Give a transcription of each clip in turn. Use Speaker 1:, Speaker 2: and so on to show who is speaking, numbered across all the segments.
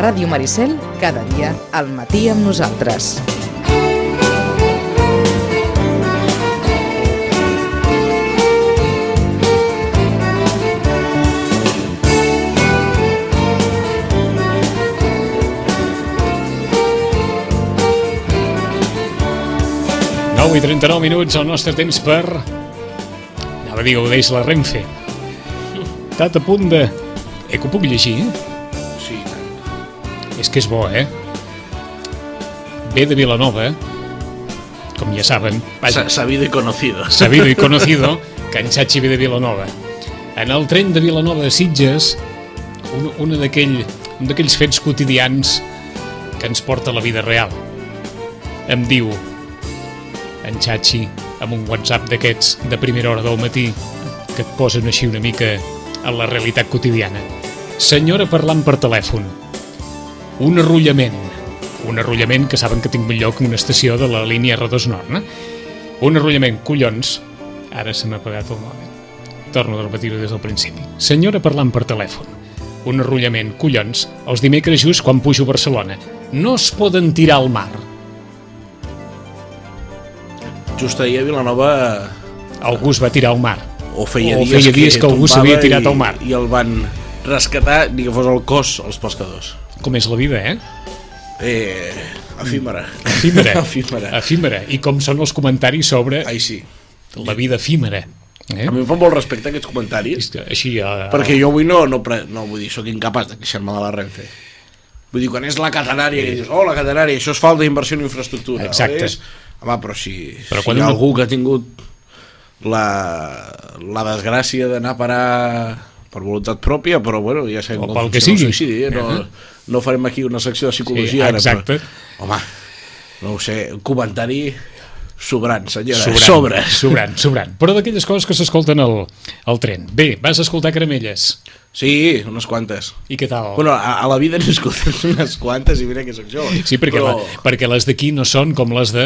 Speaker 1: Ràdio Maricel, cada dia al matí amb nosaltres.
Speaker 2: Nou i 39 minuts, el nostre temps per... Anava a dir, gaudeix la Renfe. Tat a punt de... Eh, que ho puc llegir, eh?
Speaker 3: Sí, i tant.
Speaker 2: És que és bo, eh? Ve de Vilanova, com ja saben, vaja,
Speaker 3: Sa- Sabido y conocido.
Speaker 2: sabido y conocido, que en Xachi ve de Vilanova. En el tren de Vilanova de Sitges, un, una d'aquell- un d'aquells fets quotidians que ens porta a la vida real. Em diu en Xachi amb un WhatsApp d'aquests de primera hora del matí que et posen així una mica en la realitat quotidiana. Senyora parlant per telèfon. Un arrullament. Un arrullament que saben que tinc lloc en una estació de la línia R2 Nord, no? Un arrullament, collons. Ara se m'ha apagat el mòbil. Torno a repetir-ho des del principi. Senyora parlant per telèfon. Un arrullament, collons, els dimecres just quan pujo a Barcelona. No es poden tirar al mar.
Speaker 3: Just ahir a Vilanova
Speaker 2: Algú es va tirar al mar.
Speaker 3: o feia,
Speaker 2: O
Speaker 3: dies,
Speaker 2: feia dies que algú
Speaker 3: tombava
Speaker 2: s'havia tirat
Speaker 3: i-
Speaker 2: al mar.
Speaker 3: I el van rescatar, ni que fos el cos, els pescadors.
Speaker 2: Com és la vida, eh?
Speaker 3: Eh, efímera.
Speaker 2: Mm. Efímera.
Speaker 3: efímera.
Speaker 2: Efímera. I com són els comentaris sobre
Speaker 3: Ai, sí.
Speaker 2: la vida efímera. Eh?
Speaker 3: A mi em fan molt respecte aquests comentaris,
Speaker 2: És que Així, eh,
Speaker 3: perquè jo avui no, no, pre... no vull dir, sóc incapaç de queixar-me de la Renfe. Vull dir, quan és la catenària, que dius, oh, la catenària, això és falta d'inversió en infraestructura. o
Speaker 2: Exacte.
Speaker 3: És... Home, però si,
Speaker 2: Però
Speaker 3: però si
Speaker 2: quan
Speaker 3: hi ha
Speaker 2: una-
Speaker 3: algú que ha tingut la, la desgràcia d'anar a parar per voluntat pròpia, però bueno, ja sabem
Speaker 2: O
Speaker 3: com
Speaker 2: pel que
Speaker 3: funciona el
Speaker 2: sigui.
Speaker 3: Suïcidi, eh? no,
Speaker 2: Ahà.
Speaker 3: no farem aquí una secció de psicologia
Speaker 2: Sí,
Speaker 3: ara,
Speaker 2: exacte.
Speaker 3: Però, home, no ho sé, un comentari sobrant, senyora.
Speaker 2: eh, Sobrant,
Speaker 3: Sobre.
Speaker 2: sobrant, sobrant. Però d'aquelles coses que s'escolten al, al tren. Bé, vas escoltar Caramelles.
Speaker 3: Sí, unes quantes.
Speaker 2: I què tal?
Speaker 3: Oh. Bueno, a, a la vida n'he escoltat unes quantes i mira que sóc jove.
Speaker 2: sí, perquè,
Speaker 3: però...
Speaker 2: però... la, perquè les d'aquí no són com les de...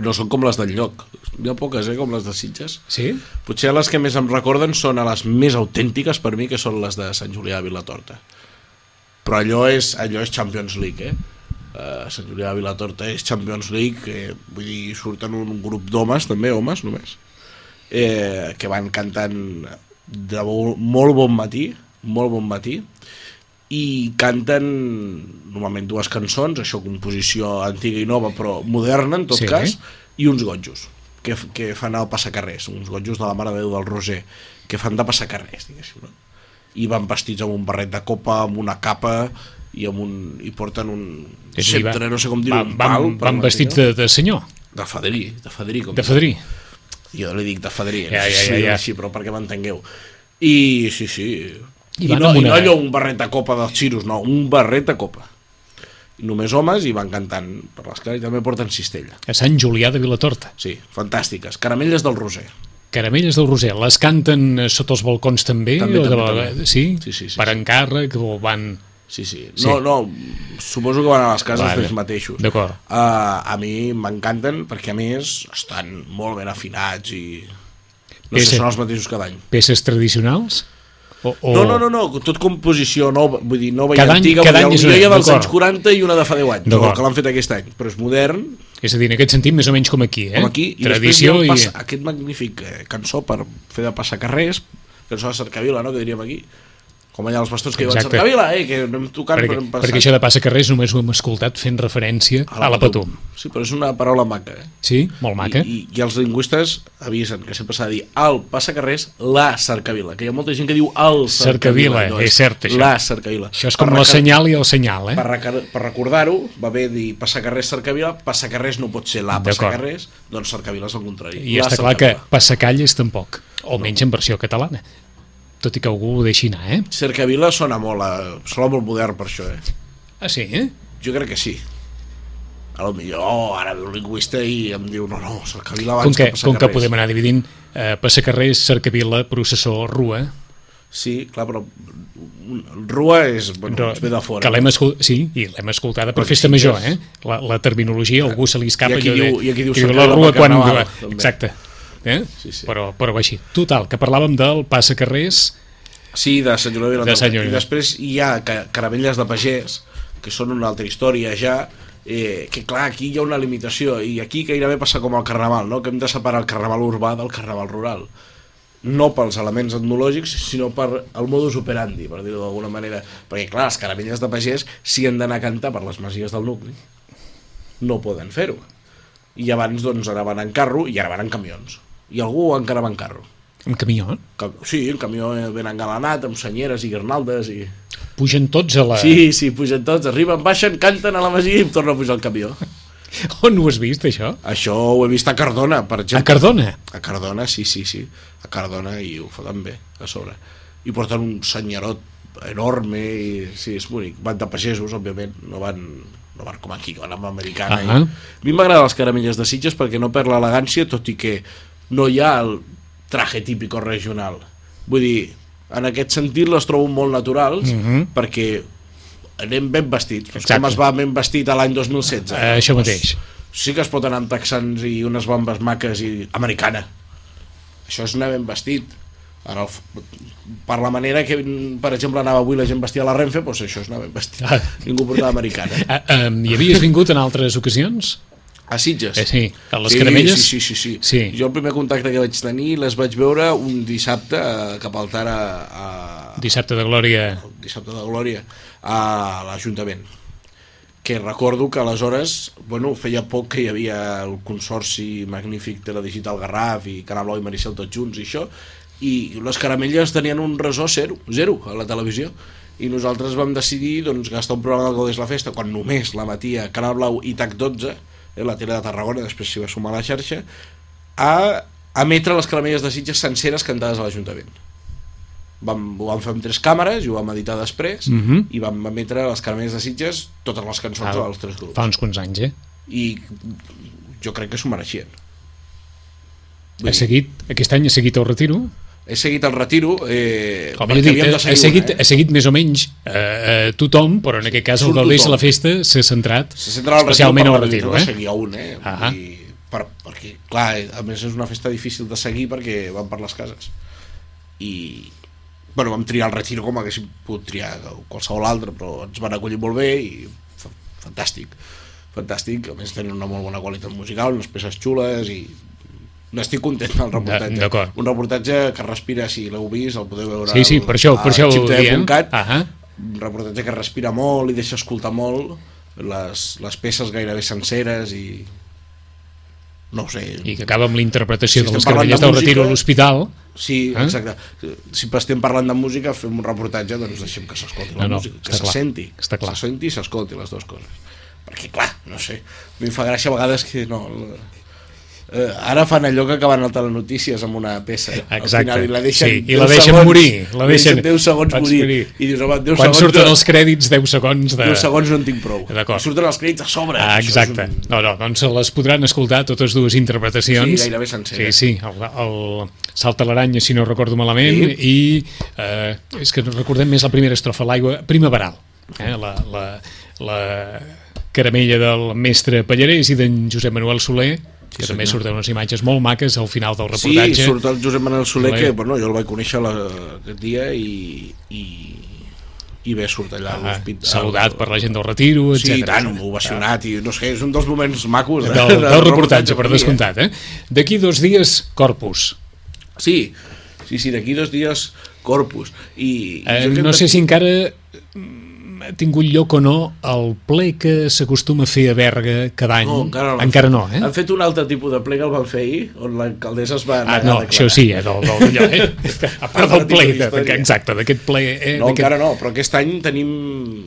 Speaker 3: No són com les del lloc. Hi ha poques, eh, com les de Sitges.
Speaker 2: Sí?
Speaker 3: Potser les que més em recorden són a les més autèntiques per mi, que són les de Sant Julià de Vilatorta. Però allò és, allò és Champions League, eh? Uh, Sant Julià de Vilatorta és Champions League, eh, vull dir, surten un grup d'homes, també, homes només, eh, que van cantant de bo, molt bon matí, molt bon matí, i canten normalment dues cançons, això composició antiga i nova, però moderna en tot
Speaker 2: Sí.
Speaker 3: sí. cas, i uns gotjos que, f- que fan el passacarrers, uns gotjos de la Mare de Déu del Roser, que fan de passacarrers, diguéssim, no? I van vestits amb un barret de copa, amb una capa i, amb un, i porten un
Speaker 2: És a dir,
Speaker 3: sceptre,
Speaker 2: va-
Speaker 3: no sé com dir-ho,
Speaker 2: va-
Speaker 3: un
Speaker 2: Van,
Speaker 3: pal.
Speaker 2: van, van
Speaker 3: però-
Speaker 2: vestits de, de senyor,
Speaker 3: De fadrí, de fadrí, com
Speaker 2: de fadrí.
Speaker 3: jo li dic de fadrí,
Speaker 2: Ja,
Speaker 3: ja,
Speaker 2: ja,
Speaker 3: ja,
Speaker 2: ja, ja.
Speaker 3: així, però perquè m'entengueu. I sí, sí.
Speaker 2: I
Speaker 3: I,
Speaker 2: van
Speaker 3: no,
Speaker 2: amb
Speaker 3: I no
Speaker 2: una-
Speaker 3: allò un barret de copa dels xiros, no, un barret de copa. Només homes i van cantant per les cares i també porten cistella.
Speaker 2: A Sant Julià de Vilatorta.
Speaker 3: Sí, fantàstiques. Caramelles del Roser.
Speaker 2: Caramelles del Roser, les canten eh, sota els balcons també?
Speaker 3: També,
Speaker 2: o de
Speaker 3: també,
Speaker 2: vegades-
Speaker 3: també.
Speaker 2: Sí?
Speaker 3: Sí, sí, sí,
Speaker 2: per
Speaker 3: sí.
Speaker 2: encàrrec o van...
Speaker 3: Sí, sí.
Speaker 2: Sí.
Speaker 3: No, no, suposo que van a les cases
Speaker 2: Vale.
Speaker 3: vale. d'ells mateixos.
Speaker 2: D'acord.
Speaker 3: Uh, a mi m'encanten perquè, a més, estan molt ben afinats i... No
Speaker 2: Bé,
Speaker 3: sé,
Speaker 2: sí.
Speaker 3: són els mateixos cada any.
Speaker 2: Peces tradicionals? O, o...
Speaker 3: No, no, no, no, tot composició nova, vull dir, nova
Speaker 2: Cada any-
Speaker 3: i antiga,
Speaker 2: cada any
Speaker 3: vull
Speaker 2: és
Speaker 3: dir,
Speaker 2: una,
Speaker 3: una, dels
Speaker 2: d'acord.
Speaker 3: anys 40 i una de fa 10 anys,
Speaker 2: D'acord.
Speaker 3: no, que l'han fet aquest any, però és modern,
Speaker 2: És a dir, en aquest sentit, més o menys com aquí, eh?
Speaker 3: com aquí, i
Speaker 2: Tradició
Speaker 3: després hi ha
Speaker 2: i...
Speaker 3: passa, aquest magnífic eh, cançó per fer de passacarrers, cançó de cercavila, no?, que diríem aquí, com allà els bastons que diuen
Speaker 2: Exacte.
Speaker 3: cercavila, eh, que anem tocant,
Speaker 2: Perquè,
Speaker 3: però hem
Speaker 2: perquè això de passacarrers només ho hem escoltat fent referència a la Patum.
Speaker 3: Sí, però és una paraula maca, eh?
Speaker 2: Sí? Molt maca.
Speaker 3: I, i, I els lingüistes avisen que sempre s'ha de dir el passacarrers, la cercavila, que hi ha molta gent que diu el
Speaker 2: Cercavila,
Speaker 3: cercavila. no
Speaker 2: és cert, això.
Speaker 3: La cercavila.
Speaker 2: Això és com
Speaker 3: Per
Speaker 2: la
Speaker 3: reca-
Speaker 2: senyal i el senyal, eh?
Speaker 3: Per, reca- per recordar-ho, va bé dir passacarrers, cercavila, passacarrers no pot ser la
Speaker 2: D'acord.
Speaker 3: passacarrers, doncs cercavila és el contrari.
Speaker 2: I
Speaker 3: la
Speaker 2: està clar que
Speaker 3: cercavila.
Speaker 2: passacalles tampoc, almenys en versió catalana. Tot i que algú ho deixi anar, eh?
Speaker 3: Cercavila sona molt, a, sona molt modern per això, eh?
Speaker 2: Ah, sí, eh?
Speaker 3: Jo crec que sí. A lo millor oh, ara ve un lingüista i em diu no, no, cercavila abans
Speaker 2: Com que,
Speaker 3: que
Speaker 2: com que
Speaker 3: passacarrers.
Speaker 2: podem anar dividint eh, passacarrers, cercavila, processó, rua...
Speaker 3: Sí, clar, però un- rua és, bueno,
Speaker 2: Però
Speaker 3: ens ve de fora.
Speaker 2: Que l'hem escol... Sí, i l'hem escoltada per
Speaker 3: Perquè
Speaker 2: festa
Speaker 3: sí que
Speaker 2: major,
Speaker 3: és-
Speaker 2: eh? La, la terminologia, algú se li escapa...
Speaker 3: I aquí
Speaker 2: allò
Speaker 3: diu- i aquí diu
Speaker 2: que
Speaker 3: Sant
Speaker 2: la
Speaker 3: Pere
Speaker 2: rua
Speaker 3: del
Speaker 2: quan...
Speaker 3: Carnaval, també.
Speaker 2: Exacte. Eh?
Speaker 3: Sí, sí.
Speaker 2: Però, però va així. Total, que parlàvem del passacarrers,
Speaker 3: Sí, de Sant Julià de
Speaker 2: De
Speaker 3: Vilatorta.
Speaker 2: Sant Julià.
Speaker 3: I després hi ha ca- caravelles de pagès, que són una altra història ja, eh, que clar, aquí hi ha una limitació, i aquí gairebé passa com al carnaval, no? que hem de separar el carnaval urbà del carnaval rural. No pels elements etnològics, sinó per el modus operandi, per dir-ho d'alguna manera. Perquè clar, les caravelles de pagès s'hi han d'anar a cantar per les masies del nucli. No poden fer-ho. I abans doncs, anaven en carro i ara van en camions. I algú encara va en carro.
Speaker 2: En camió, eh?
Speaker 3: Cam- Sí, el camió ben engalanat, amb senyeres i guirnaldes i...
Speaker 2: Pugen tots a la...
Speaker 3: Sí, sí, pugen tots, arriben, baixen, canten a la masia i torna a pujar el camió.
Speaker 2: On ho has vist, això?
Speaker 3: Això ho he vist a Cardona, per
Speaker 2: A
Speaker 3: exemple.
Speaker 2: Cardona.
Speaker 3: A Cardona, sí, sí, sí. A Cardona i ho foten bé, a sobre. I porten un senyerot enorme i... Sí, és bonic. Van de pagesos, òbviament, no van no van com aquí, que van amb americana. Uh
Speaker 2: Ah.
Speaker 3: -huh. i... A mi m'agraden les caramelles de Sitges perquè no perd l'elegància, tot i que no hi ha el traje típico regional. Vull dir, en aquest sentit les trobo molt naturals uh
Speaker 2: Mhm.
Speaker 3: -huh. perquè anem ben vestits. Doncs com
Speaker 2: Exacte.
Speaker 3: es va ben vestit a l'any 2016?
Speaker 2: Eh, això mateix.
Speaker 3: sí que es pot anar amb texans i unes bombes maques i americana això és anar ben vestit Ara, el f- per la manera que per exemple anava avui la gent vestida a la Renfe doncs això és anar ben vestit
Speaker 2: Ah.
Speaker 3: ningú portava americana
Speaker 2: Ah, eh, hi havies vingut en altres ocasions?
Speaker 3: a Sitges
Speaker 2: Eh, sí, a les caramelles?
Speaker 3: Sí, sí, sí, sí,
Speaker 2: Sí.
Speaker 3: Jo el primer contacte que vaig tenir les vaig veure un dissabte eh, cap al tard a, a,
Speaker 2: Dissabte de Glòria.
Speaker 3: dissabte de Glòria a l'Ajuntament que recordo que aleshores bueno, feia poc que hi havia el consorci magnífic de la Digital Garraf i Canal Blau i Maricel tots junts i això i les caramelles tenien un resó zero, zero a la televisió i nosaltres vam decidir doncs, gastar un programa del Gaudés la Festa quan només la matia Canal Blau i TAC12 eh, la tele de Tarragona, després s'hi va sumar la xarxa a emetre les caramelles de Sitges senceres cantades a l'Ajuntament vam, ho vam fer amb tres càmeres i ho vam editar després
Speaker 2: Mhm.
Speaker 3: i vam emetre les Caramelles de Sitges totes les cançons
Speaker 2: Ah.
Speaker 3: dels tres grups
Speaker 2: Fa uns quants anys, eh?
Speaker 3: i jo crec que s'ho mereixien
Speaker 2: Ha seguit, aquest any ha seguit el retiro?
Speaker 3: he seguit el retiro eh,
Speaker 2: Com he
Speaker 3: perquè
Speaker 2: dit,
Speaker 3: havíem de
Speaker 2: ha,
Speaker 3: seguir
Speaker 2: seguit,
Speaker 3: una, eh?
Speaker 2: ha seguit més o menys eh, eh, tothom, però en aquest cas el
Speaker 3: Surt
Speaker 2: Gaudés
Speaker 3: tothom.
Speaker 2: la Festa s'ha centrat
Speaker 3: se centra el
Speaker 2: especialment
Speaker 3: retiro
Speaker 2: al
Speaker 3: per la
Speaker 2: retiro.
Speaker 3: veritat que
Speaker 2: Eh?
Speaker 3: seguia un eh?
Speaker 2: Ahà.
Speaker 3: I per, perquè clar, eh, a més és una festa difícil de seguir perquè van per les cases i bueno, vam triar el retiro com haguéssim pogut triar qualsevol altre però ens van acollir molt bé i fa- fantàstic fantàstic, a més tenen una molt bona qualitat musical unes peces xules i n'estic content del reportatge
Speaker 2: d'acord.
Speaker 3: un reportatge que respira si l'heu vist el podeu veure
Speaker 2: Sí, sí, per això, per això ho diem.
Speaker 3: ah
Speaker 2: Ahà.
Speaker 3: un reportatge que respira molt i deixa escoltar molt les, les peces gairebé senceres i no ho sé
Speaker 2: I que acaba amb la interpretació
Speaker 3: Si
Speaker 2: de les
Speaker 3: estem parlant
Speaker 2: caramelles
Speaker 3: de
Speaker 2: del retiro
Speaker 3: música-
Speaker 2: a l'hospital.
Speaker 3: sí,
Speaker 2: Eh?
Speaker 3: exacte si estem parlant de música fem un reportatge doncs deixem que s'escolti la
Speaker 2: No, no,
Speaker 3: música que
Speaker 2: està
Speaker 3: se
Speaker 2: clar,
Speaker 3: senti
Speaker 2: està clar.
Speaker 3: se senti i s'escolti les dues coses perquè clar, no sé a mi em fa gràcia a vegades que no eh, ara fan allò que acaben al telenotícies amb una peça
Speaker 2: Exacte,
Speaker 3: al final, i la deixen,
Speaker 2: sí, i
Speaker 3: 10
Speaker 2: la deixen
Speaker 3: segons,
Speaker 2: morir, la deixen-
Speaker 3: 10 segons
Speaker 2: Vaig
Speaker 3: morir
Speaker 2: morir.
Speaker 3: i dius home 10
Speaker 2: Quan
Speaker 3: segons
Speaker 2: surten els crèdits, 10 segons de...
Speaker 3: 10 segons no en tinc prou.
Speaker 2: D'acord.
Speaker 3: I Surten els crèdits a sobre.
Speaker 2: Ah,
Speaker 3: Això és
Speaker 2: exacte. No, no, doncs se les podran escoltar totes dues interpretacions.
Speaker 3: Sí, gairebé senceres.
Speaker 2: Sí, sí, el, el Salta l'aranya, si no recordo malament, sí. i eh, és que recordem més la primera estrofa, l'aigua primaveral, eh, la, la, la caramella del mestre Pallarès i d'en Josep Manuel Soler, que també surten unes imatges molt maques al final del
Speaker 3: Sí, i
Speaker 2: reportatge.
Speaker 3: surt el Josep Manuel Soler,
Speaker 2: Soler.
Speaker 3: que bueno, jo el vaig conèixer la, aquest dia i, i, i bé, surt allà a
Speaker 2: ah,
Speaker 3: l'hospital.
Speaker 2: saludat per la gent del retiro, etc.
Speaker 3: Sí, i tant, ovacionat, i no sé, és un dels moments macos. eh,
Speaker 2: Del, del, reportatge, per
Speaker 3: mi, eh?
Speaker 2: descomptat, eh? D'aquí dos dies, Corpus.
Speaker 3: Sí, sí, sí, d'aquí dos dies Corpus. I, i
Speaker 2: Eh,
Speaker 3: jo crec
Speaker 2: no
Speaker 3: que-
Speaker 2: sé si encara mm, ha tingut lloc o no el ple que s'acostuma a fer a Berga cada any.
Speaker 3: No, encara no.
Speaker 2: encara no eh?
Speaker 3: Han fet un altre tipus de ple que el van fer ahir, on l'alcaldessa es va anar
Speaker 2: Ah, no,
Speaker 3: a declarar.
Speaker 2: això sí, eh, del, del, allò, eh? a part del
Speaker 3: Altre
Speaker 2: ple,
Speaker 3: tipus
Speaker 2: de,
Speaker 3: d'història.
Speaker 2: exacte, d'aquest ple... Eh,
Speaker 3: No,
Speaker 2: d'aquest-
Speaker 3: encara no, però aquest any tenim...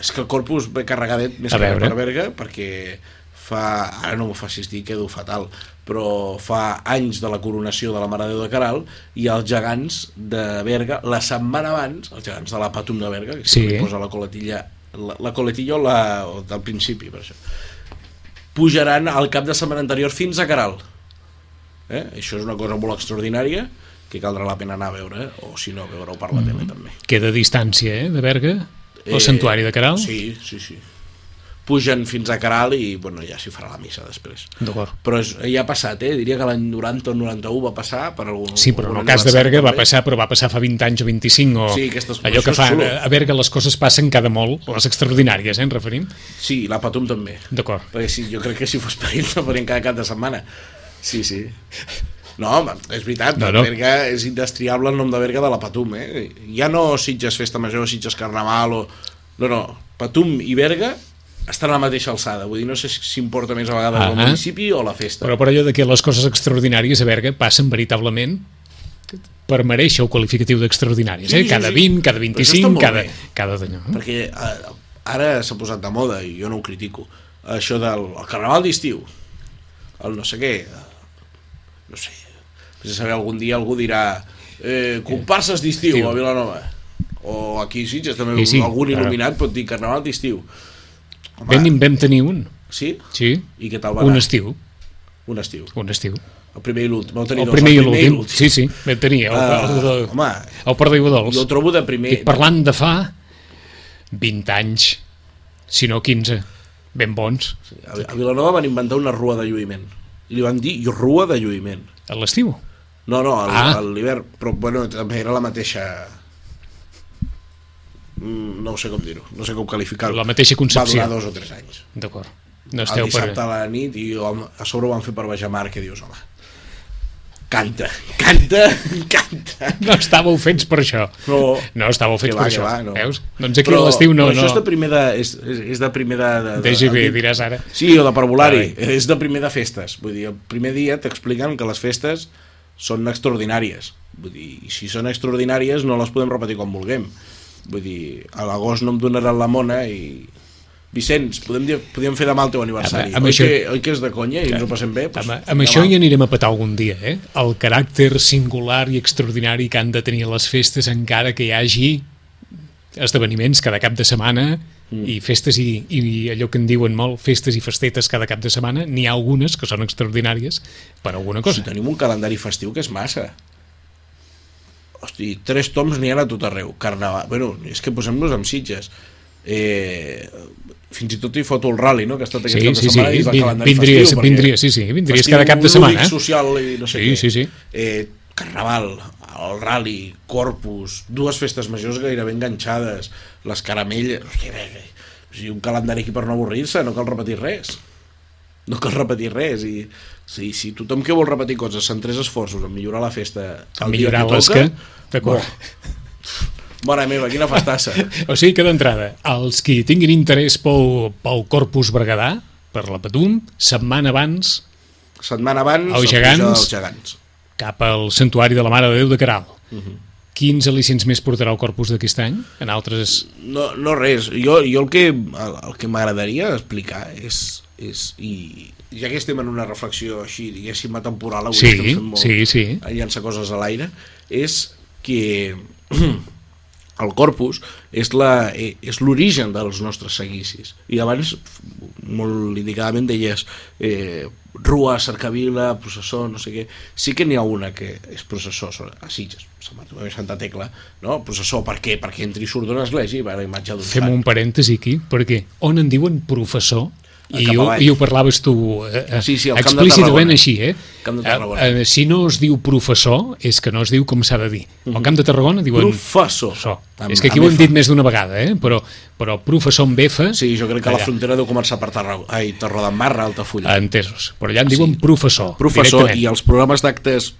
Speaker 3: És que el Corpus ve carregadet més
Speaker 2: A
Speaker 3: que res
Speaker 2: veure.
Speaker 3: per Berga, perquè fa... Ara no m'ho facis dir, quedo fatal, però fa anys de la coronació de la Mare de Déu de Caral i els gegants de Berga, la setmana abans, els gegants de la Pàtum de Berga, que
Speaker 2: Sí.
Speaker 3: sí. posa la coletilla, la, la coletilla o la, o del principi, per això, pujaran al cap de setmana anterior fins a Caral. Eh? Això és una cosa molt extraordinària que caldrà la pena anar a veure, eh? o si no, veure-ho per la
Speaker 2: Mm.
Speaker 3: tele també.
Speaker 2: Queda distància, eh, de Berga, el
Speaker 3: Eh,
Speaker 2: santuari de Caral.
Speaker 3: Sí, sí, sí. pugen fins a Caral i bueno, ja s'hi farà la missa després.
Speaker 2: D'acord.
Speaker 3: Però és, ja ha passat, eh? Diria que l'any 90 o 91 va passar per algun...
Speaker 2: Sí, però en
Speaker 3: algun
Speaker 2: el cas de
Speaker 3: aniversari
Speaker 2: Berga va
Speaker 3: també.
Speaker 2: passar, però va passar fa 20 anys o 25 o...
Speaker 3: Sí, aquestes
Speaker 2: allò que
Speaker 3: coses,
Speaker 2: fa,
Speaker 3: xulo.
Speaker 2: a Berga les coses passen cada molt, les extraordinàries, eh, en referim?
Speaker 3: Sí, i la Patum també.
Speaker 2: D'acord.
Speaker 3: Perquè sí, jo crec que si fos per ell no farien cada cap de setmana. Sí, sí. No, home, és veritat,
Speaker 2: No,
Speaker 3: no,
Speaker 2: no.
Speaker 3: no. Berga és indestriable el nom de Berga de la Patum, eh? Ja no Sitges Festa Major, Sitges Carnaval o... No, no, Patum i Berga estan a la mateixa alçada. Vull dir, no sé si s'importa més a vegades uh -huh.
Speaker 2: Ahà.
Speaker 3: el municipi o la festa.
Speaker 2: Ah. Però per allò de que les coses extraordinàries a Berga passen veritablement per mereixer el qualificatiu d'extraordinàries,
Speaker 3: Sí,
Speaker 2: eh?
Speaker 3: sí,
Speaker 2: Cada
Speaker 3: sí.
Speaker 2: 20, cada
Speaker 3: Però això està
Speaker 2: 25,
Speaker 3: molt
Speaker 2: cada,
Speaker 3: bé.
Speaker 2: cada d'allò. eh?
Speaker 3: perquè eh, ara s'ha posat de moda i jo no ho critico això del el carnaval d'estiu el no sé què eh, no sé, vés a saber algun dia algú dirà eh, comparses d'estiu
Speaker 2: Estiu.
Speaker 3: a Vilanova o aquí a Sitges també
Speaker 2: I sí,
Speaker 3: sí, algun
Speaker 2: clar.
Speaker 3: il·luminat pot dir carnaval d'estiu Home,
Speaker 2: Vam, vam tenir un,
Speaker 3: sí?
Speaker 2: sí,
Speaker 3: i què tal va
Speaker 2: un
Speaker 3: anar?
Speaker 2: estiu,
Speaker 3: un estiu
Speaker 2: un estiu.
Speaker 3: el primer i l'últim vau tenir
Speaker 2: El
Speaker 3: dos,
Speaker 2: primer i
Speaker 3: primer
Speaker 2: l'últim, sí, sí, vam tenir el,
Speaker 3: Ah,
Speaker 2: el, el,
Speaker 3: home,
Speaker 2: el, el Port d'Iguadols.
Speaker 3: jo ho trobo de primer
Speaker 2: Estic parlant de fa 20 anys, si no 15, ben bons,
Speaker 3: a a Vilanova van inventar una rua de lluïment i li van dir rua de lluïment
Speaker 2: a l'estiu.
Speaker 3: No, no, al-
Speaker 2: Ah.
Speaker 3: a l'hivern, però bueno, també era la mateixa... Mm, No ho sé com dir-ho, no sé com qualificar-ho.
Speaker 2: La mateixa concepció.
Speaker 3: Va durar dos o tres anys.
Speaker 2: D'acord. No esteu
Speaker 3: Esteu el
Speaker 2: per...
Speaker 3: dissabte a la nit i home, a sobre ho van fer per Bajamar, que dius, home, canta, canta, canta.
Speaker 2: No estàveu fets per això.
Speaker 3: No.
Speaker 2: no estàveu fets
Speaker 3: Que va,
Speaker 2: per
Speaker 3: que
Speaker 2: això.
Speaker 3: va, no.
Speaker 2: Veus? Doncs aquí a l'estiu no...
Speaker 3: però això és de
Speaker 2: no.
Speaker 3: primer de... És, és, és de primer eh? de... de, de
Speaker 2: DGB,
Speaker 3: de-
Speaker 2: diràs ara.
Speaker 3: Sí, o de parvulari. Eh,
Speaker 2: Carai.
Speaker 3: És de primer de festes. Vull dir, el primer dia t'expliquen que les festes són extraordinàries. Vull dir, i si són extraordinàries no les podem repetir com vulguem. Vull dir, a l'agost no em donaran la mona i... Vicenç, podem, dir, podem fer demà el teu aniversari.
Speaker 2: Amb- amb
Speaker 3: oi,
Speaker 2: això-
Speaker 3: que, oi que és de conya i ens ho passem bé? Doncs
Speaker 2: Amb, amb això hi anirem a petar algun dia, eh? El caràcter singular i extraordinari que han de tenir les festes encara que hi hagi esdeveniments cada cap de setmana
Speaker 3: Mm.
Speaker 2: i festes i, i allò que en diuen molt, festes i festetes cada cap de setmana, n'hi ha algunes que són extraordinàries per alguna
Speaker 3: Si
Speaker 2: cosa.
Speaker 3: tenim un calendari festiu que és massa. Hosti, tres toms n'hi ha a tot arreu. Carnaval... Bueno, és que posem-nos amb sitges. Eh, fins i tot hi foto el rally, no?, que ha estat aquest
Speaker 2: Sí,
Speaker 3: cap de
Speaker 2: sí, sí,
Speaker 3: setmana i és el
Speaker 2: vin-
Speaker 3: calendari
Speaker 2: vindries,
Speaker 3: festiu. perquè
Speaker 2: vindries, sí, sí, vindries
Speaker 3: festiu,
Speaker 2: cada cap de
Speaker 3: lúdic,
Speaker 2: setmana. eh?
Speaker 3: social i no sé
Speaker 2: Sí,
Speaker 3: què.
Speaker 2: sí, sí.
Speaker 3: Eh, carnaval, el rally, corpus, dues festes majors gairebé enganxades, les caramelles... Hosti, bé, bé. O sigui, un calendari aquí per no avorrir-se, no cal repetir res no cal repetir res i si, si tothom que vol repetir coses centrés esforços en millorar la festa el dia
Speaker 2: Millorar les
Speaker 3: toca,
Speaker 2: que... D'acord.
Speaker 3: bo. mare meva, quina festassa
Speaker 2: O sigui que d'entrada, els qui tinguin interès pel, pel Corpus Berguedà, per la Patum, setmana abans
Speaker 3: setmana abans
Speaker 2: Els
Speaker 3: la puja
Speaker 2: gegants.
Speaker 3: dels gegants.
Speaker 2: cap al Santuari de la Mare de Déu de Caral.
Speaker 3: Mhm.
Speaker 2: Quins al·licents més portarà el Corpus d'aquest any? En altres...
Speaker 3: No, no res, jo, jo el que, el, el que m'agradaria explicar és, és i ja que estem en una reflexió així, diguéssim, atemporal avui
Speaker 2: Sí,
Speaker 3: estem fent molt,
Speaker 2: sí, sí.
Speaker 3: a llançar coses a l'aire, és que el corpus és la- eh, és l'origen dels nostres seguicis. I abans, f- molt indicadament, deies eh, Rua, Cercavila, Processó, no sé què. Sí que n'hi ha una que és processó so- a Sitges, Sant Bartomeu i Santa Tecla, no? Processó, per què? Perquè entri i surt d'una església i va a la imatge d'un
Speaker 2: Fem
Speaker 3: sant.
Speaker 2: un parèntesi aquí, perquè on en diuen professor,
Speaker 3: A
Speaker 2: i
Speaker 3: cap
Speaker 2: ho,
Speaker 3: avall.
Speaker 2: i ho parlaves tu eh, eh,
Speaker 3: Sí, sí, al Camp de
Speaker 2: explícitament
Speaker 3: Tarragona.
Speaker 2: així, eh?
Speaker 3: Camp de Tarragona.
Speaker 2: Eh, eh, si no es diu professor, és que no es diu com s'ha de dir. Al Camp de Tarragona diuen...
Speaker 3: Professor.
Speaker 2: professor.
Speaker 3: Mhm. Amb-
Speaker 2: És que aquí
Speaker 3: amb
Speaker 2: ho hem
Speaker 3: F.
Speaker 2: dit més d'una vegada, eh? però, però professor amb F...
Speaker 3: Sí, jo crec que la
Speaker 2: allà.
Speaker 3: frontera deu començar per Tarragona, ai, Torredembarra, Altafulla.
Speaker 2: Entesos. Però allà en diuen professor,
Speaker 3: professor i
Speaker 2: directament.
Speaker 3: els programes d'actes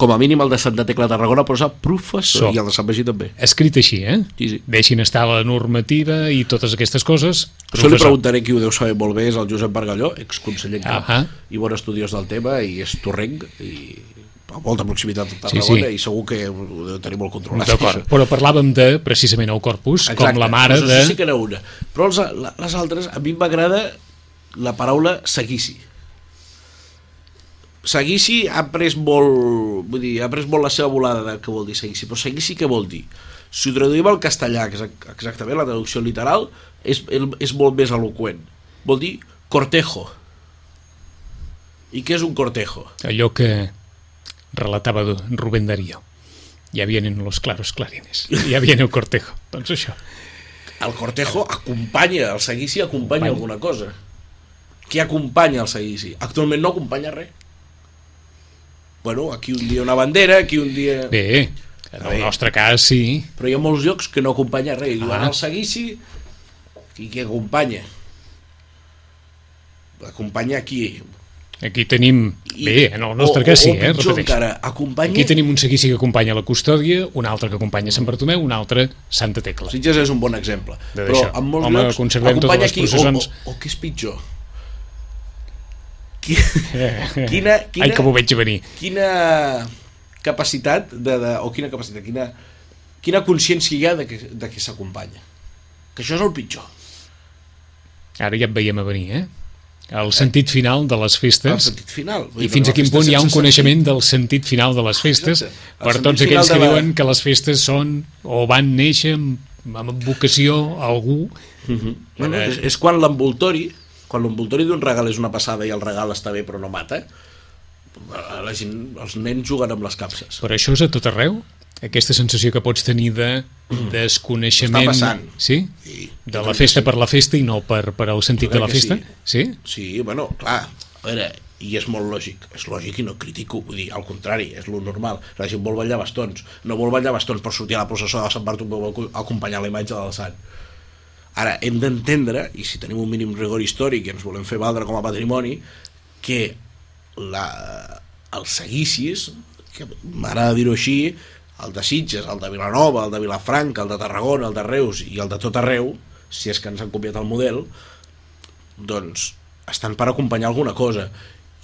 Speaker 3: com a mínim el de Santa Tecla de Tarragona posa professor
Speaker 2: So.
Speaker 3: i el de Sant Magí també
Speaker 2: Escrit així, eh?
Speaker 3: Sí, sí.
Speaker 2: Deixin estar la normativa i totes aquestes coses.
Speaker 3: això li preguntaré qui ho deu saber molt bé és el Josep Bargalló, exconseller en cap
Speaker 2: Ahà.
Speaker 3: i bon estudiós del tema i és torrenc i a molta proximitat a
Speaker 2: Sí,
Speaker 3: Tarragona
Speaker 2: sí.
Speaker 3: i segur que ho deu tenir molt controlat
Speaker 2: D'acord,
Speaker 3: això.
Speaker 2: però parlàvem de, precisament, el corpus,
Speaker 3: Exacte,
Speaker 2: com la mare eh?
Speaker 3: doncs
Speaker 2: de...
Speaker 3: això sí que era una però els, la- les altres, a mi m'agrada la paraula seguici seguici ha pres molt vull dir, ha pres molt la seva volada de què vol dir seguici, però seguici què vol dir? si ho traduïm al castellà que és ex- exactament la traducció literal és, el- és molt més eloqüent vol dir cortejo i què és un cortejo?
Speaker 2: Allò que relatava du- Rubén Darío. Ja vienen los claros clarines. Ja viene el cortejo. Doncs això.
Speaker 3: El Cortejo acompanya, el seguici acompanya alguna cosa. Qui acompanya el seguici? Actualment no acompanya res. Bueno, aquí un dia una bandera, aquí un dia...
Speaker 2: Bé, en el
Speaker 3: Bé.
Speaker 2: nostre cas sí.
Speaker 3: Però hi ha molts llocs que no acompanya res. I diuen
Speaker 2: Ah.
Speaker 3: el seguici, i qui acompanya? Acompanya qui?
Speaker 2: Aquí tenim...
Speaker 3: I-
Speaker 2: Bé, en el nostre cas sí,
Speaker 3: o, o
Speaker 2: eh?
Speaker 3: pitjor
Speaker 2: Repeteixo.
Speaker 3: encara, acompanya...
Speaker 2: Aquí tenim un seguici que acompanya la custòdia, un altre que acompanya Sant Bartomeu, un altre Santa Tecla.
Speaker 3: Sitges és un bon exemple.
Speaker 2: De
Speaker 3: Però
Speaker 2: deixar.
Speaker 3: en molts
Speaker 2: Home,
Speaker 3: llocs
Speaker 2: conservem totes
Speaker 3: acompanya
Speaker 2: les
Speaker 3: qui?
Speaker 2: processons.
Speaker 3: O, o, o què és pitjor? Qui, quina, quina,
Speaker 2: Eh, Ai, que m'ho veig a venir.
Speaker 3: quina capacitat de, de, o quina capacitat, quina, quina consciència hi ha de que, de que s'acompanya. Que això és el pitjor.
Speaker 2: Ara ja et veiem a venir, eh? El sentit final de les
Speaker 3: El
Speaker 2: festes
Speaker 3: sentit final. Vull
Speaker 2: i
Speaker 3: dir,
Speaker 2: fins
Speaker 3: la
Speaker 2: a quin
Speaker 3: festa
Speaker 2: punt hi ha un
Speaker 3: sense
Speaker 2: coneixement del sentit final de les festes
Speaker 3: Exacte. El
Speaker 2: per
Speaker 3: sentit
Speaker 2: tots
Speaker 3: final
Speaker 2: aquells que
Speaker 3: de la-
Speaker 2: diuen que les festes són o van néixer amb amb vocació a algú
Speaker 3: sentit. No, no, és, és quan l'envoltori, quan l'envoltori d'un regal és una passada i el regal està bé però no mata, la- la gent, els nens juguen amb les capses.
Speaker 2: però això és a tot arreu aquesta sensació que pots tenir de desconeixement
Speaker 3: Mm. Està passant.
Speaker 2: sí?
Speaker 3: Sí.
Speaker 2: de la festa per la festa i no per, per el sentit
Speaker 3: Jo
Speaker 2: de
Speaker 3: crec
Speaker 2: la
Speaker 3: que
Speaker 2: festa sí?
Speaker 3: sí. Sí, bueno, clar, a veure, i és molt lògic, és lògic i no critico, vull dir, al contrari, és lo normal, la gent vol ballar bastons, no vol ballar bastons per sortir a la processó de Sant Bartomeu a acu- a acompanyar la imatge del sant. Ara, hem d'entendre, i si tenim un mínim rigor històric i ens volem fer valdre com a patrimoni, que la, els seguicis, que m'agrada dir-ho així, el de Sitges, el de Vilanova, el de Vilafranca, el de Tarragona, el de Reus i el de tot arreu, si és que ens han copiat el model, doncs estan per acompanyar alguna cosa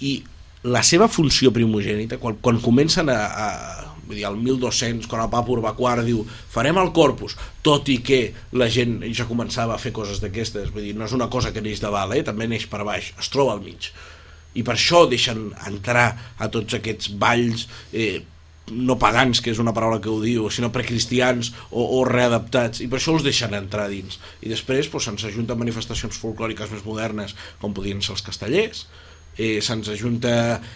Speaker 3: i la seva funció primogènita quan, quan comencen a, a vull dir, al 1200, quan el papa Urbà IV diu farem el corpus, tot i que la gent ja començava a fer coses d'aquestes vull dir, no és una cosa que neix de dalt eh? també neix per baix, es troba al mig i per això deixen entrar a tots aquests balls eh, no pagans, que és una paraula que ho diu, sinó precristians o, o readaptats, i per això els deixen entrar dins. I després doncs, se'ns ajunten manifestacions folclòriques més modernes, com podien ser els castellers, eh, se'ns ajunta,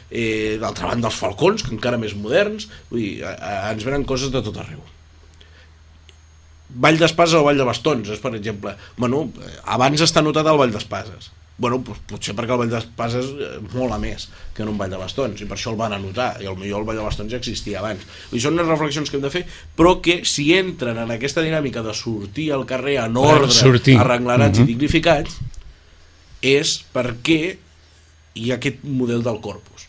Speaker 3: eh, d'altra banda, els falcons, que encara més moderns, vull dir, a, a, ens venen coses de tot arreu. Vall d'espases o vall de bastons, és per exemple. Bueno, eh, abans està notat el vall d'espases. Bueno, doncs, potser perquè el vall d'espases eh, mola més que en un vall de bastons, i per això el van anotar, i potser el vall de bastons ja existia abans. I són unes reflexions que hem de fer, però que si entren en aquesta dinàmica de sortir al carrer en ordre,
Speaker 2: sortir.
Speaker 3: arrenglarats
Speaker 2: Mhm.
Speaker 3: i dignificats, és perquè hi ha aquest model del corpus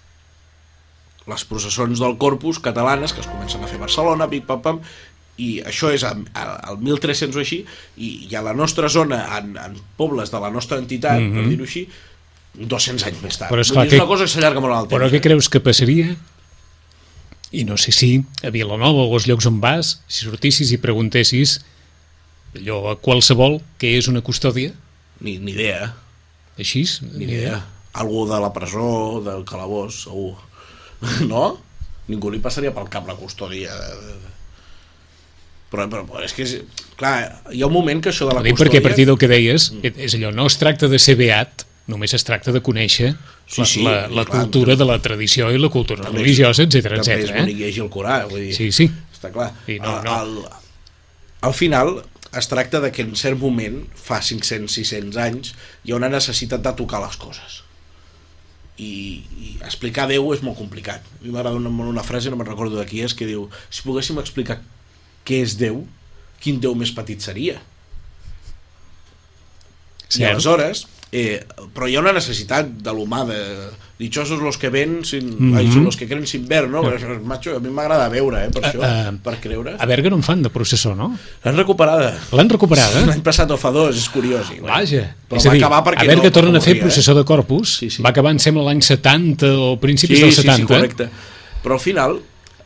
Speaker 3: les processons del Corpus catalanes que es comencen a fer a Barcelona, pic, pam, pam, i això és al al 1300 o així, i, i a la nostra zona, en, en pobles de la nostra entitat, mm -hmm. per dir-ho així, 200 anys més tard.
Speaker 2: Mhm. Però
Speaker 3: Però
Speaker 2: és
Speaker 3: és,
Speaker 2: clar
Speaker 3: dir, és
Speaker 2: que-
Speaker 3: una cosa que s'allarga molt en el temps.
Speaker 2: Però què
Speaker 3: eh?
Speaker 2: creus que passaria? I no sé si a Vilanova o als llocs on vas, si sortissis i preguntessis allò a qualsevol que és una custòdia,
Speaker 3: Ni, ni idea, eh?
Speaker 2: així?
Speaker 3: ni idea. Algú de la presó, del calabós, segur. No? Ningú li passaria pel cap la custòdia. Però, però, però és que, és, clar, hi ha un moment que això de la
Speaker 2: Ho dic
Speaker 3: custòdia...
Speaker 2: perquè a partir del que deies,
Speaker 3: Mm.
Speaker 2: és allò, no es tracta de ser beat, només es tracta de conèixer
Speaker 3: Sí,
Speaker 2: la,
Speaker 3: sí,
Speaker 2: la, la
Speaker 3: clar,
Speaker 2: cultura de la tradició i la cultura
Speaker 3: També és-
Speaker 2: religiosa, etc
Speaker 3: També és
Speaker 2: etc.
Speaker 3: bonic
Speaker 2: Eh?
Speaker 3: llegir el Corà, vull dir...
Speaker 2: Sí, sí.
Speaker 3: Està clar.
Speaker 2: I no,
Speaker 3: Al-
Speaker 2: no.
Speaker 3: Al, al final es tracta de que en cert moment, fa 500-600 anys, hi ha una necessitat de tocar les coses. I, i explicar Déu és molt complicat. A mi m'agrada una, molt una frase, no me'n recordo de qui és, que diu, si poguéssim explicar què és Déu, quin Déu més petit seria? I
Speaker 2: Cert.
Speaker 3: aleshores, eh, però hi ha una necessitat de l'humà de dichosos los que ven sin, mm -hmm. ai, son los que creen sin ver, no? Okay. Macho, a mi m'agrada veure, eh, per això,
Speaker 2: Mhm. eh,
Speaker 3: per creure.
Speaker 2: A Berga no en fan de processó, no?
Speaker 3: L'han recuperada.
Speaker 2: L'han eh? recuperada?
Speaker 3: L'any passat o fa dos, és curiós. I, bueno,
Speaker 2: Vaja,
Speaker 3: Però va acabar perquè
Speaker 2: a veure
Speaker 3: no, eh?
Speaker 2: que tornen
Speaker 3: no
Speaker 2: a fer
Speaker 3: volia,
Speaker 2: processó de corpus,
Speaker 3: Sí, sí.
Speaker 2: va acabar, em sembla, l'any 70 o principis
Speaker 3: sí,
Speaker 2: del eh?
Speaker 3: sí,
Speaker 2: 70.
Speaker 3: sí, correcte. Però al final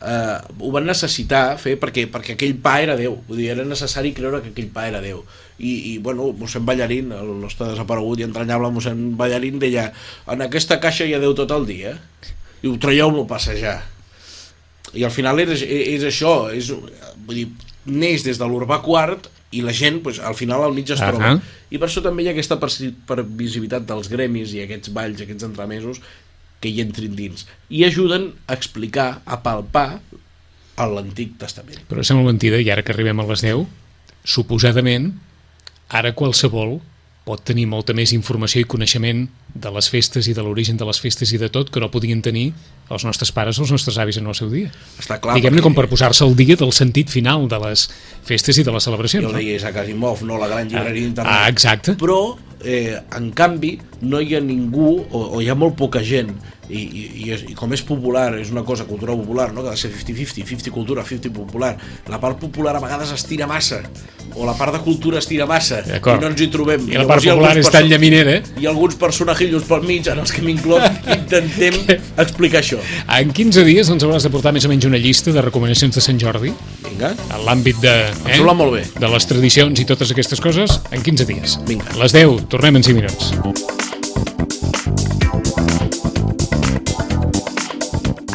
Speaker 3: eh, ho van necessitar fer perquè, perquè aquell pa era Déu. Vull dir, era necessari creure que aquell pa era Déu. I, i bueno, mossèn Ballarín, el nostre desaparegut i entranyable mossèn Ballarín, deia en aquesta caixa hi ha Déu tot el dia. Diu, traieu-lo a passejar. I al final és, és això, és, vull dir, neix des de l'Urbà IV i la gent, doncs, al final al mig es troba.
Speaker 2: Ahà.
Speaker 3: I per això també hi ha aquesta persi- previsibilitat dels gremis i aquests balls, aquests entremesos, que hi entrin dins. I ajuden a explicar, a palpar a l'Antic Testament.
Speaker 2: Però sembla mentida, i ara que arribem a les 10, suposadament Ara qualsevol pot tenir molta més informació i coneixement de les festes i de l'origen de les festes i de tot que no podien tenir els nostres pares o els nostres avis en el seu dia.
Speaker 3: Està clar,
Speaker 2: Diguem-ne
Speaker 3: perquè-
Speaker 2: com per posar-se al dia del sentit final de les festes i de les
Speaker 3: Ja
Speaker 2: celebracions.
Speaker 3: ho
Speaker 2: no?
Speaker 3: deia Isaac Asimov, no la gran llibreria
Speaker 2: Ah,
Speaker 3: internacional.
Speaker 2: exacte.
Speaker 3: Però, eh, en canvi, no hi ha ningú, o, o hi ha molt poca gent, i, i, i, és, i com és popular, és una cosa, cultura popular, no? que ha de ser 50-50, 50 cultura, 50 popular, la part popular a vegades es tira massa, o la part de cultura es tira massa, i
Speaker 2: D'acord.
Speaker 3: no ens hi trobem.
Speaker 2: I la
Speaker 3: Llavors,
Speaker 2: part
Speaker 3: hi ha alguns
Speaker 2: popular és
Speaker 3: perso-
Speaker 2: tan llaminera.
Speaker 3: Hi ha alguns personajillos pel mig, en els que m'incloc, intentem explicar això.
Speaker 2: En 15 dies ens hauràs de portar més o menys una llista de recomanacions de Sant Jordi
Speaker 3: Vinga,
Speaker 2: en l'àmbit de, eh,
Speaker 3: sembla molt bé.
Speaker 2: de les tradicions i totes aquestes coses en 15 dies.
Speaker 3: Vinga.
Speaker 2: A les 10, tornem en 5 minuts.